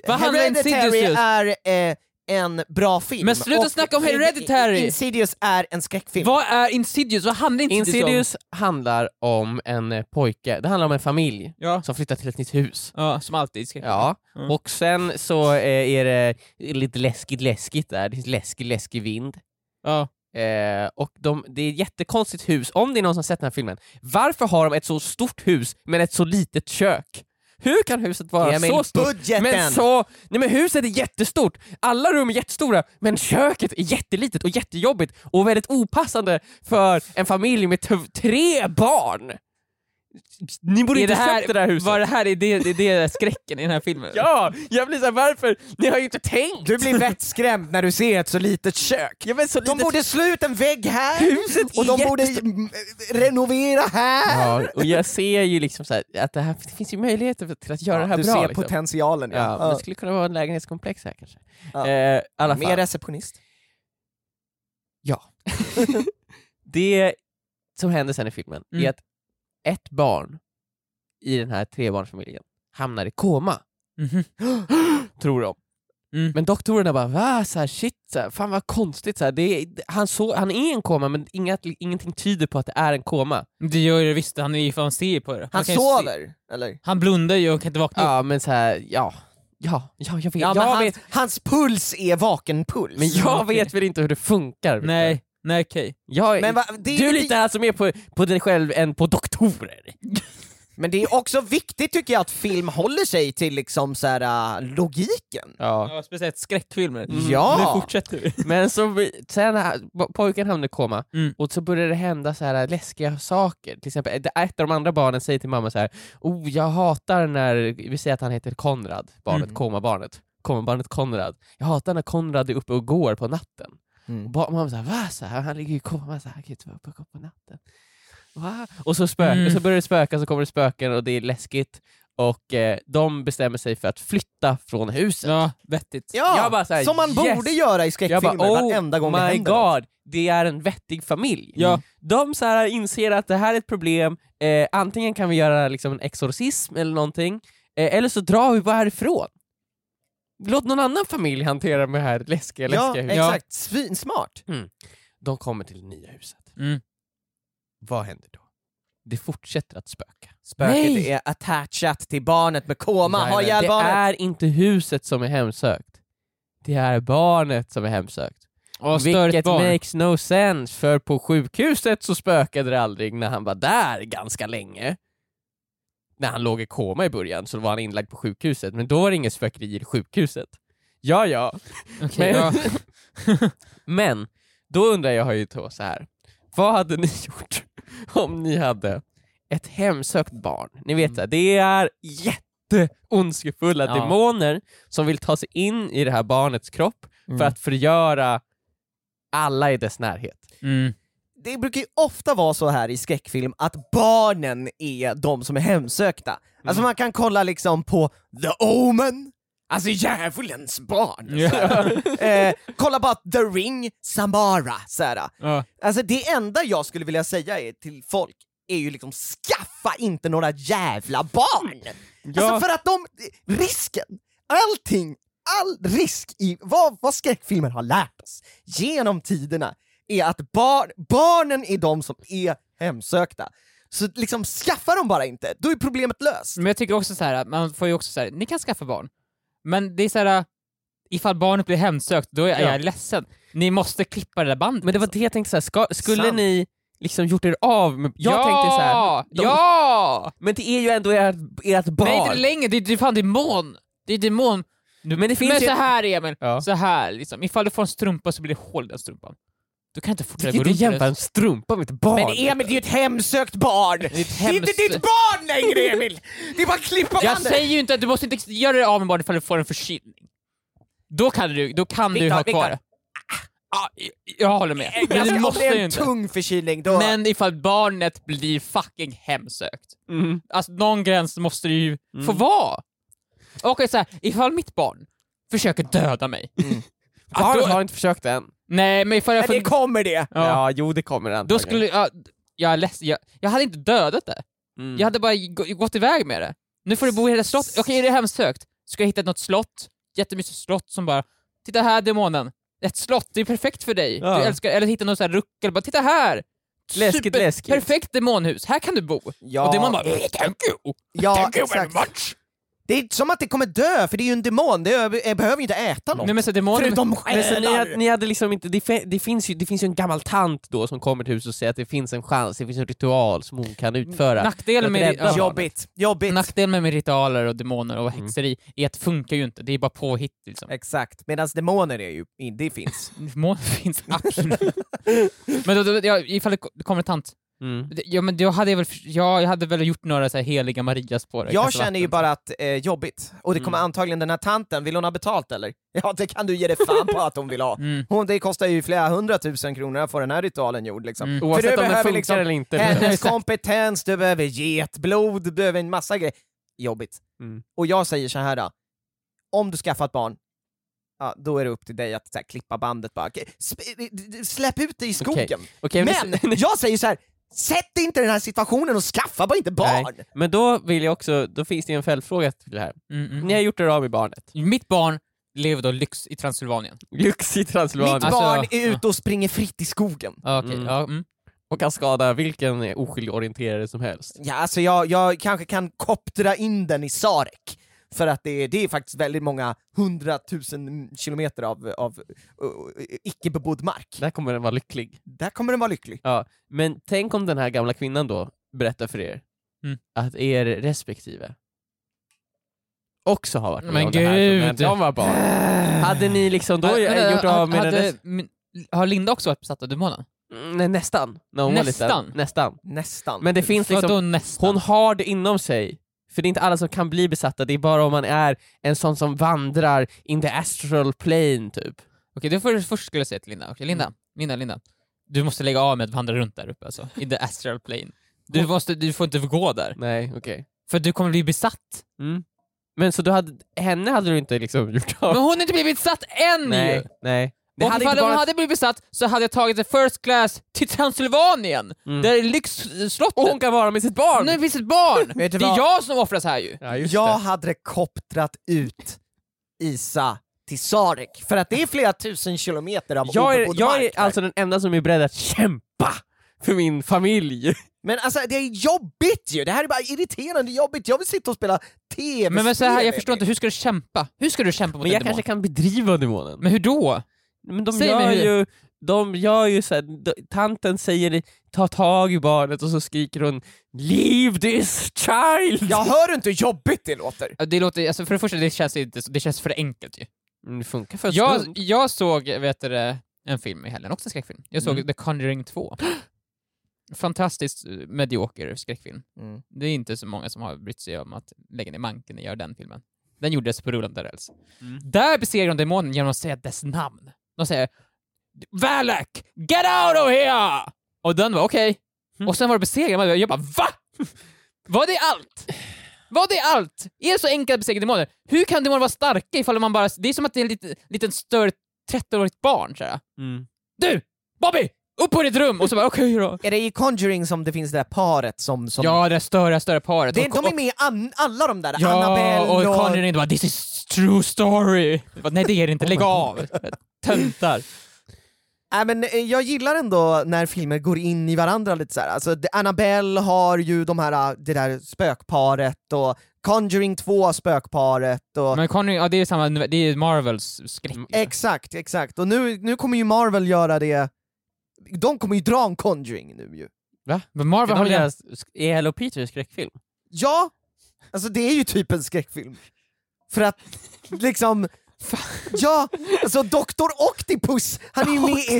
Vad handlar Hereditary Insidious är eh, en bra film. Men sluta och snacka om Hereditary! Insidious är en skräckfilm. Vad är Insidious? Vad handlar Insidious, om? Insidious handlar om en eh, pojke, det handlar om en familj Ja. som flyttar till ett nytt hus. ja, som alltid. skräck. Ja, Mm. och sen så eh, är det lite läskigt läskigt där, det finns läskig läskig vind. Ja. Eh, och de, det är ett jättekonstigt hus, om det är någon som har sett den här filmen. Varför har de ett så stort hus men ett så litet kök? Hur kan huset vara Emil, så stort? budgeten! Men så, nej men huset är jättestort, alla rum är jättestora, men köket är jättelitet och jättejobbigt och väldigt opassande för en familj med t- tre barn. Ni borde Är inte det här, köpt det där huset. Var det här är det, det, det är skräcken i den här filmen? Ja, jag blir såhär varför? Ni har ju inte tänkt! Du blir vettskrämd när du ser ett så litet kök. Ja, men så De litet- borde slå ut en vägg här, Huset är och de borde mm, renovera här. Ja, och jag ser ju liksom så här, att det, här, det finns ju möjligheter för- till att göra det här du bra. ser liksom. potentialen. Ja. ja, Ja. Det skulle kunna vara en lägenhetskomplex här kanske. Ja. Eh, i alla fall. Mer receptionist. Det som händer sen i filmen Mm. är att ett barn i den här trebarnsfamiljen hamnar i koma, Mhm. tror de. Mm. Men doktorerna bara va? Så här, shit, så här, fan vad konstigt. Så här, det är, han, så, han är i en koma men inget, ingenting tyder på att det är en koma. Det gör ju det visst, han, är, ju- han ser ju på det. Han kan ju Se. sover, eller? Han blundar ju och kan inte vakna upp. Ja men så här, ja. Ja, ja, jag vet. Ja, men jag han, vet Hans puls är vakenpuls. men jag Okej. vet väl inte hur det funkar. Nej, nej okej. Jag, Men va- det är du ju är li- lite här som är på, på dig själv än på doktorer. Men det är också viktigt tycker jag att film håller sig till liksom så här, äh, logiken. Ja. Mm. Ja, speciellt skräckfilmer. Ja. Nu fortsätter vi. Men så, vi- sen här, po- pojken hamnade i koma Mm. och så började det hända så här läskiga saker. Till exempel det- ett av de andra barnen säger till mamma så här, oh jag hatar när, vi säger att han heter Konrad, barnet, Mm. komabarnet. Komabarnet Konrad. Jag hatar när Konrad är uppe och går på natten. Mm. Och ba- mamma såhär, va? Så här, han ligger i koma, så här, han kan ju inte vara uppe och gå på natten. Va? Och så, spö- Mm. och så börjar det spöka, så kommer det spöken och det är läskigt. Och eh, de bestämmer sig för att flytta från huset. Ja, vettigt. Ja, Jag bara så här, som man yes. borde göra i Jag skräckfilmer bara, oh varenda gång det my händer något. god, det är en vettig familj. Ja. De så här inser att det här är ett problem, eh, antingen kan vi göra liksom en exorcism eller någonting, eh, eller så drar vi bara härifrån. Låt någon annan familj hantera med det här läskiga, läskiga Ja, huset. exakt. Svinsmart. De kommer till det nya huset. Mm. Vad händer då? Det fortsätter att spöka. Spöket Nej. är attachat till barnet med koma, ha Jajamän. ihjäl det barnet! är inte huset som är hemsökt. Det är barnet som är hemsökt. Och större Vilket barn. makes no sense, för på sjukhuset så spökade det aldrig när han var där ganska länge. När han låg i koma i början så var han inlagd på sjukhuset, men då var det inget spökeri i sjukhuset. Ja, ja. Okej, Men- ja. Men, då undrar jag ju då så här. vad hade ni gjort om ni hade ett hemsökt barn? Ni vet det, det är jätteondskefulla Ja. demoner som vill ta sig in i det här barnets kropp för att förgöra alla i dess närhet. Mm. Det brukar ju ofta vara så här i skräckfilm att barnen är de som är hemsökta. Alltså man kan kolla liksom på The Omen, alltså djävulens barn. så här. eh, kolla bara The Ring, Samara. Så här. Ja. Alltså det enda jag skulle vilja säga är, till folk är ju liksom skaffa inte några jävla barn! Alltså för att de, risken, allting, all risk i vad, vad skräckfilmer har lärt oss genom tiderna är att bar, barnen är de som är hemsökta. Så liksom skaffa dem bara inte, då är problemet löst. Men jag tycker också så här, att man får ju också så här, ni kan skaffa barn. Men det är så här, ifall barnet blir hemsökt, då är Ja. jag ledsen. Ni måste klippa det där bandet. Men det var det jag tänkte, så här, ska, skulle Sant. ni liksom gjort er av med... Jag ja! tänkte så här, de- Ja! men det är ju ändå ert, ert barn. Nej, inte längre. Det är, det är fan demon. Det är demon. men det finns men ju... så här Emil, Ja. så här liksom. Ifall du får en strumpa så blir det hål i den strumpan. Du kan inte Du fortsätta kan inte gå runt med jämföra det. en strumpa med ett barn. Men Emil, det är ju ett hemsökt barn! Det är, inte hemsö- ditt barn längre Emil! Det är bara att klippa Jag bandet! säger ju inte att du måste inte göra dig av med barnet ifall du får en förkylning. Då kan du, då kan du Viktor, ha Viktor. kvar det. Ja, jag håller med. Men Alltså, du om måste det är ju en inte. tung förkylning då... Men ifall barnet blir fucking hemsökt. Mm. Alltså någon gräns måste det ju få vara. Och så här, ifall mitt barn försöker döda mig. Barnet då- har inte försökt än. Nej men ifall jag Men det får... kommer det! Ja. jo det kommer det Då antagligen. skulle jag... Jag, är ledsen, jag, jag hade inte dödat det. Mm. Jag hade bara gå- gått iväg med det. Nu får du bo i hela slottet. Okej, är det hemsökt? Ska jag hitta något slott? Jättemysigt slott som bara... Titta här demonen! Ett slott, det är perfekt för dig. Ja. Du älskar, eller hitta något så här ruckel. Bara, titta här! Läskigt, läskigt. Perfekt demonhus, här kan du bo. Ja. Och demonen bara... "Eh, Thank you! Ja, Thank you very exakt. much! "Äh, Det är som att det kommer dö, för det är ju en demon, det ö- behöver ju inte äta något. Nej, men så här, demonen... Förutom Men sen, ni, hade, själar! ni hade liksom inte, det, fe- det, finns ju, det finns ju en gammal tant då som kommer till huset och säger att det finns en chans, det finns en ritual som hon kan utföra. Nackdelen Jag är med, rädd. ja, Jobbigt, Mm. jobbigt. nackdelen med ritualer och demoner och häxeri är att det funkar ju inte. Det är bara påhitt liksom. Exakt, medan demoner är ju, det finns. Månen finns absolut. Men då, då, ja, ifall det ko- det kommer en tant, Mm. Det- Ja men då hade jag väl, ja, jag hade väl gjort några så här heliga Marias på det. Jag Kasta känner ju vatten. bara att eh, jobbigt. Och det kommer antagligen den här tanten, vill hon ha betalt eller? Ja det kan du ge dig fan på att hon vill ha. Mm. Hon, det kostar ju flera hundratusen kronor att få den här ritualen gjord liksom. Mm. För du Oavsett om den behöver funkar liksom eller inte. hennes Exakt. kompetens, du behöver getblod, du behöver en massa grejer. Jobbigt. Mm. Och jag säger så här då. om du skaffat barn, ja, då är det upp till dig att så här, klippa bandet bara. Okej, sp- eh, Släpp ut det i skogen. Okej, Men jag säger så här. Sätt dig inte i den här situationen och skaffa bara inte barn! Nej. Men då vill jag också, då finns det ju en följdfråga till det här. Mm, mm. Ni har gjort er av med barnet. Mitt barn lever då lyx i Transylvanien. Lux i Transylvanien. Mitt Alltså, barn ja. är ute och springer fritt i skogen. Ja, Okej, Mm. ja. Mm. och kan skada vilken oskyldig orienterare som helst. Ja, alltså jag, jag kanske kan koptra in den i Sarek. För att det, är- det är faktiskt väldigt många hundratusen kilometer av, av uh, icke bebodd mark. Där kommer den vara lycklig. Där kommer den vara lycklig. Men tänk om den här gamla kvinnan då berättar för er Mm. att er respektive också har varit med Men om det här gud. som hände när de var barn. Hade ni liksom då Vänta, gjort av med den hade- res- min- Har Linda också varit besatt av demonen? Mm, Nej, nästan. När hon Var Nästan? liten. Nästan. Nästan. Men det finns liksom, Vadå nästan? hon har det inom sig. För det är inte alla som kan bli besatta, det är bara om man är en sån som vandrar in the astral plane typ. Okej, det får du först Mm. skulle jag säga till Linda. Okej, Linda, Linda, Linda. Du måste lägga av med att vandra runt där uppe alltså, i the astral plane. Du, måste, du får inte gå där. Nej, okej. För du kommer bli besatt. Men så du hade, henne hade du inte liksom gjort av? Men hon har inte blivit besatt än ju! Nej, nej. Det och hade ifall inte hon bara... hade blivit besatt så hade jag tagit en first class till Transylvanien, Mm. där är lyxslottet. Och hon kan vara med sitt barn! Nu finns ett barn! Vet du det är vad? jag som offras här ju. Ja, Jag hade koptrat ut Isa till Sarek, för att det är flera tusen kilometer av Jag är, obebodd jag mark är där. alltså den enda som är beredd att kämpa för min familj. Men alltså det är jobbigt ju! Det här är bara irriterande jobbigt, jag vill sitta och spela tv Men, men så här, jag förstår inte, hur ska du kämpa? Hur ska du kämpa mot Men en jag demon? kanske kan bedriva demonen. Men hur då? Men de Säg gör mig hur. ju, de gör ju så här, d- tanten säger ta tag i barnet och så skriker hon Leave this child! Jag hör inte hur jobbigt det låter! Ja, Det låter, alltså för det första, det känns, inte, så- det känns för enkelt ju. Mm, Det funkar för en Jag, stund. jag såg vet du, det, en film i helgen, också en skräckfilm. Jag såg Mm. The Conjuring 2. Fantastiskt eh, medioker skräckfilm. Mm. Det är inte så många som har brytt sig om att lägga ner manken och göra den filmen. Den gjordes på rullande räls. Mm. Där besegrar de demonen genom att säga dess namn. De säger Valak, get out of here! Och den var okej. Mm. Och sen var det besegrad, Man bara- jag bara VA? Var det allt? Var det allt? Är det så enkelt att besegra demoner? Hur kan demoner vara starka ifall man bara... Det är som att det är en liten, liten större 13-årigt barn såhär. Mm. Du! Bobby! Upp på ditt rum! Och så bara okej då. Är det i Conjuring som det finns det där paret som... som... Ja, det där större, större paret. det, Och- de är med i an, alla de där, Ja, Annabelle och och... Conjuring bara “This is true story”. Jag Bara, Nej det är det inte, lägg av. Töntar. Nej, men eh, jag gillar ändå när filmer går in i varandra lite så här. Alltså, det- Annabelle har ju de här, eh, det där spökparet och Conjuring 2 har spökparet och... Men Conjuring, ja det är samma, det är Marvels skräck. Mm. Exakt, exakt. Och nu, nu kommer ju Marvel göra det... De kommer ju dra en Conjuring nu ju. Men Marvel Ska har de ju... göra, sk- är Hello Peter en skräckfilm? Ja! Alltså det är ju typ en skräckfilm. För att liksom... Ja, alltså Doktor Octopus, han är ju med i...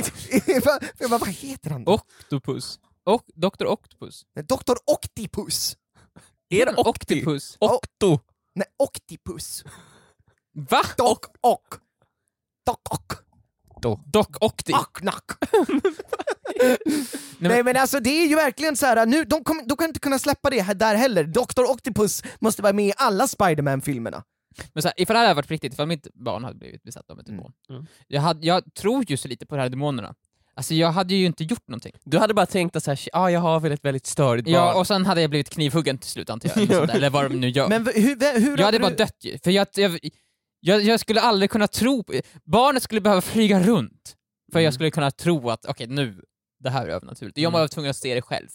i vad, vad- vad heter han? Och- Octopus. Och Dr. Octopus. Doktor Octopus! Är det Octi? Octopus. Octo? Nej, Octopus. Va? Doc och. Doc och. Doc Octi. Ah! Knock, knock. men- Nej men alltså det är ju verkligen så här. nu, de, kommer- de kan inte kunna släppa det här, där heller. Doktor Octopus måste vara med i alla Spiderman-filmerna. Men så här, ifall det hade varit på riktigt, ifall mitt barn hade blivit besatt av en demon. Mm. Jag, hade, jag tror ju så lite på de här demonerna. Alltså jag hade ju inte gjort någonting. Du hade bara tänkt att så här, ah, jag har väl ett väldigt störigt barn. Ja, och sen hade jag blivit knivhuggen till slut antar jag, eller, något sånt där, eller vad de nu gör. Men v- hur, v- hur jag hade du- bara dött ju, för jag, jag, jag, jag skulle aldrig kunna tro på... Barnet skulle behöva flyga runt för Mm. jag skulle kunna tro att okej nu, det här är övernaturligt. Jag var tvungen att se det själv.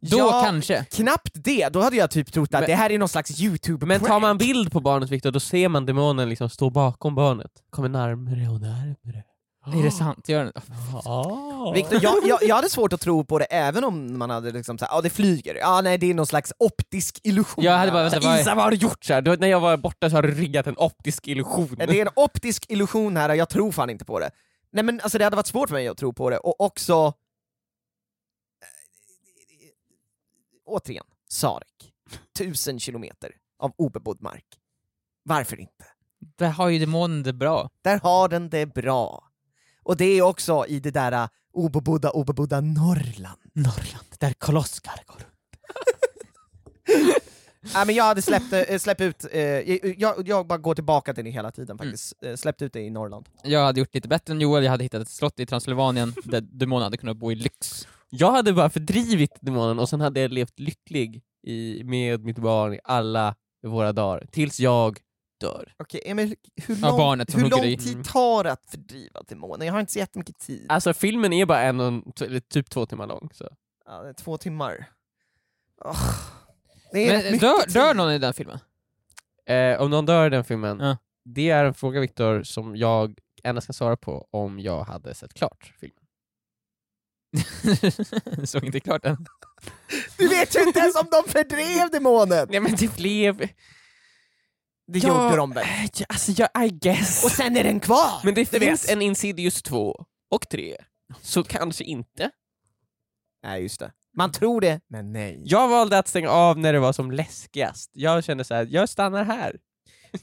Då Ja, kanske. Knappt det, då hade jag typ trott att Men- det här är någon slags youtube Men tar man bild på barnet Viktor, då ser man demonen liksom stå bakom barnet. Kommer närmre och närmre. Är det sant? Gör det. Ah. Victor, jag, jag, jag hade svårt att tro på det även om man hade liksom såhär, ja det flyger, ja nej det är någon slags optisk illusion. Jag hade bara... Så Vänta, vad här, är- Isa, vad har du gjort? Så här, du vet, när jag var borta så har du riggat en optisk illusion. Det är en optisk illusion här, jag tror fan inte på det. Nej men alltså det hade varit svårt för mig att tro på det, och också... eh, Återigen, Sarek. Tusen kilometer av obebodd mark. Varför inte? Där har ju demonen det bra. Där har den det bra. Och det är också i det där eh, obebodda, obebodda Norrland. Norrland, där Koloskar går. Nej men jag hade släppt, eh, släppt ut, eh, jag, jag bara går tillbaka till det hela Mm. tiden faktiskt, Eh, släppt ut det i Norrland. Jag hade gjort lite bättre än Joel, jag hade hittat ett slott i Transylvanien där demonen hade kunnat bo i lyx. Jag hade bara fördrivit demonen och sen hade jag levt lycklig i, med mitt barn i alla våra dagar. Tills jag dör. Okej Emil, hur Ja, lång, barnet som hur hugger lång i. Mm. tid tar det att fördriva demonen? Jag har inte så jättemycket tid. Alltså filmen är bara en och en, t- eller typ två timmar lång. Så. Ja, det är två timmar. Åh, det är Men rätt mycket dör, tid. dör någon i den filmen? Eh, om någon dör i den filmen, Ja. det är en fråga Viktor som jag endast kan svara på om jag hade sett klart filmen. Jag Såg inte klart den. Du vet ju inte ens om de fördrev demonen! Nej men det blev... Det Ja. gjorde de väl? Alltså, jag, I guess. Och sen är den kvar! Men det Du finns vet. en Insidious 2 och 3, så kanske inte. Nej just det. Man tror det, men nej. Jag valde att stänga av när det var som läskigast. Jag kände så här, jag stannar här.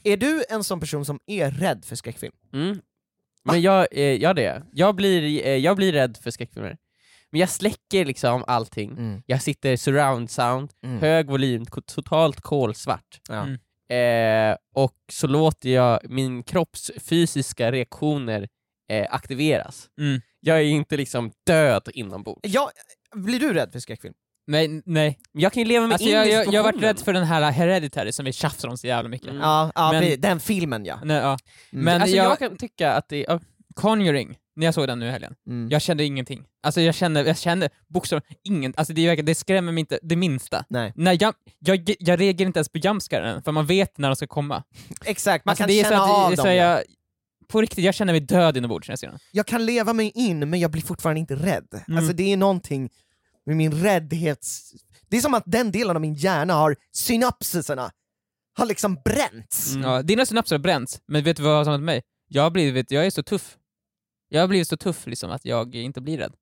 Är du en sån person som är rädd för Mm. skräckfilm? Men jag, eh, ja det är jag. jag. Blir, eh, jag blir rädd för skräckfilmer. Men jag släcker liksom allting. Mm. Jag sitter surround sound, Mm. hög volym, ko- totalt kolsvart. Ja. Mm. Eh, och så låter jag min kropps fysiska reaktioner eh, aktiveras. Mm. Jag är inte liksom död inombords. Ja, blir du rädd för skräckfilm? Nej, nej. Men Jag kan ju leva mig Alltså, in jag, i jag, jag har varit situationen. rädd för den här Hereditary som vi tjafsar om så jävla mycket. Mm. Ja, ja Men- pre- den filmen ja. Nej, ja. Mm. Men alltså, jag... jag, kan tycka att det är... Conjuring, när jag såg den nu i helgen, Mm. jag kände ingenting. Alltså jag kände, jag kände bokstavligen inget, alltså det, är verkligen- det skrämmer mig inte det minsta. Nej. Nej, jag, jag, jag reagerar inte ens på jumpscaren för man vet när de ska komma. Exakt, man alltså, kan det är känna så att, av det är så dem. ja. jag, På riktigt, jag känner mig död inombords när jag ser den. jag kan leva mig in men jag blir fortfarande inte rädd. Mm. Alltså det är någonting med min räddhets... Det är som att den delen av min hjärna har synapserna har liksom bränts. Ja, dina synapser har bränts, men vet du vad som har hänt mig? Jag har blivit, jag är så tuff. Jag har blivit så tuff liksom att jag inte blir rädd.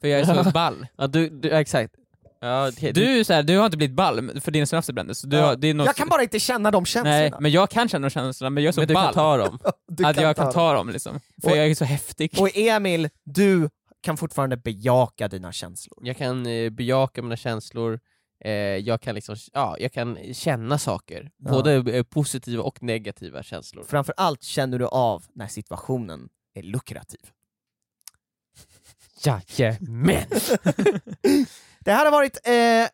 För jag är så ball. Ja, du, du, exakt. Ja, okej, du... Du, är så här, du har inte blivit ball men- för dina synapser brändes. så Du Ja. har, det är något, Jag kan bara inte känna de Nej, känslorna. men jag kan känna de känslorna, men jag är så Men du ball kan ta dem. Du att jag ta kan dem. ta dem liksom. För Och- jag är så häftig. Och Emil, du kan fortfarande bejaka dina känslor. Jag kan eh, bejaka mina känslor, eh, jag, kan liksom, ja, jag kan känna saker. Ja. Både eh, positiva och negativa känslor. Framförallt känner du av när situationen är lukrativ. Jajamän! Det här har varit eh,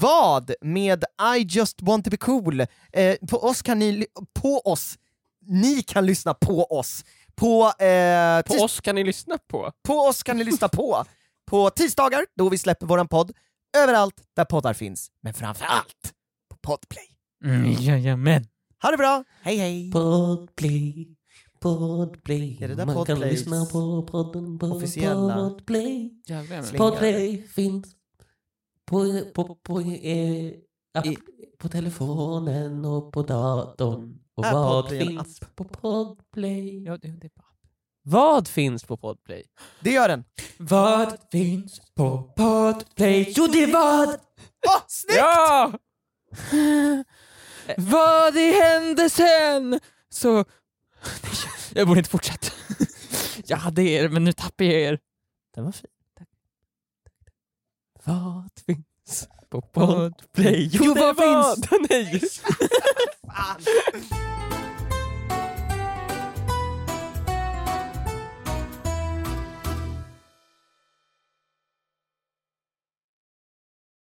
Vad med I just want to be cool. Eh, på oss kan ni... ly- På oss. Ni kan lyssna på oss. På, eh, På tis- oss kan ni lyssna på. på oss kan ni lyssna på. På tisdagar, då vi släpper våran podd. Överallt där poddar finns, men framförallt på Podplay. Mm, jajamän. Ha det bra, hej hej! Podplay, Podplay. Är det där Man kan Podplays lyssna på podden på officiella- Podplay. Jävlar, men- Släng- Podplay finns på, på, på, eh, app, på telefonen och på datorn. Och Är vad Podplay en finns på Podplay? Ja, det, det är bra. Vad finns på Podplay? Det gör den! Vad finns på Podplay? Jo, det är vad! Åh, snyggt! Ja! Vad det hände sen? Så... Jag borde inte fortsätta. Jag hade er, men nu tappar jag er. Den var fin. Vad finns på Podplay? Jo, vad finns? Nej! Fan.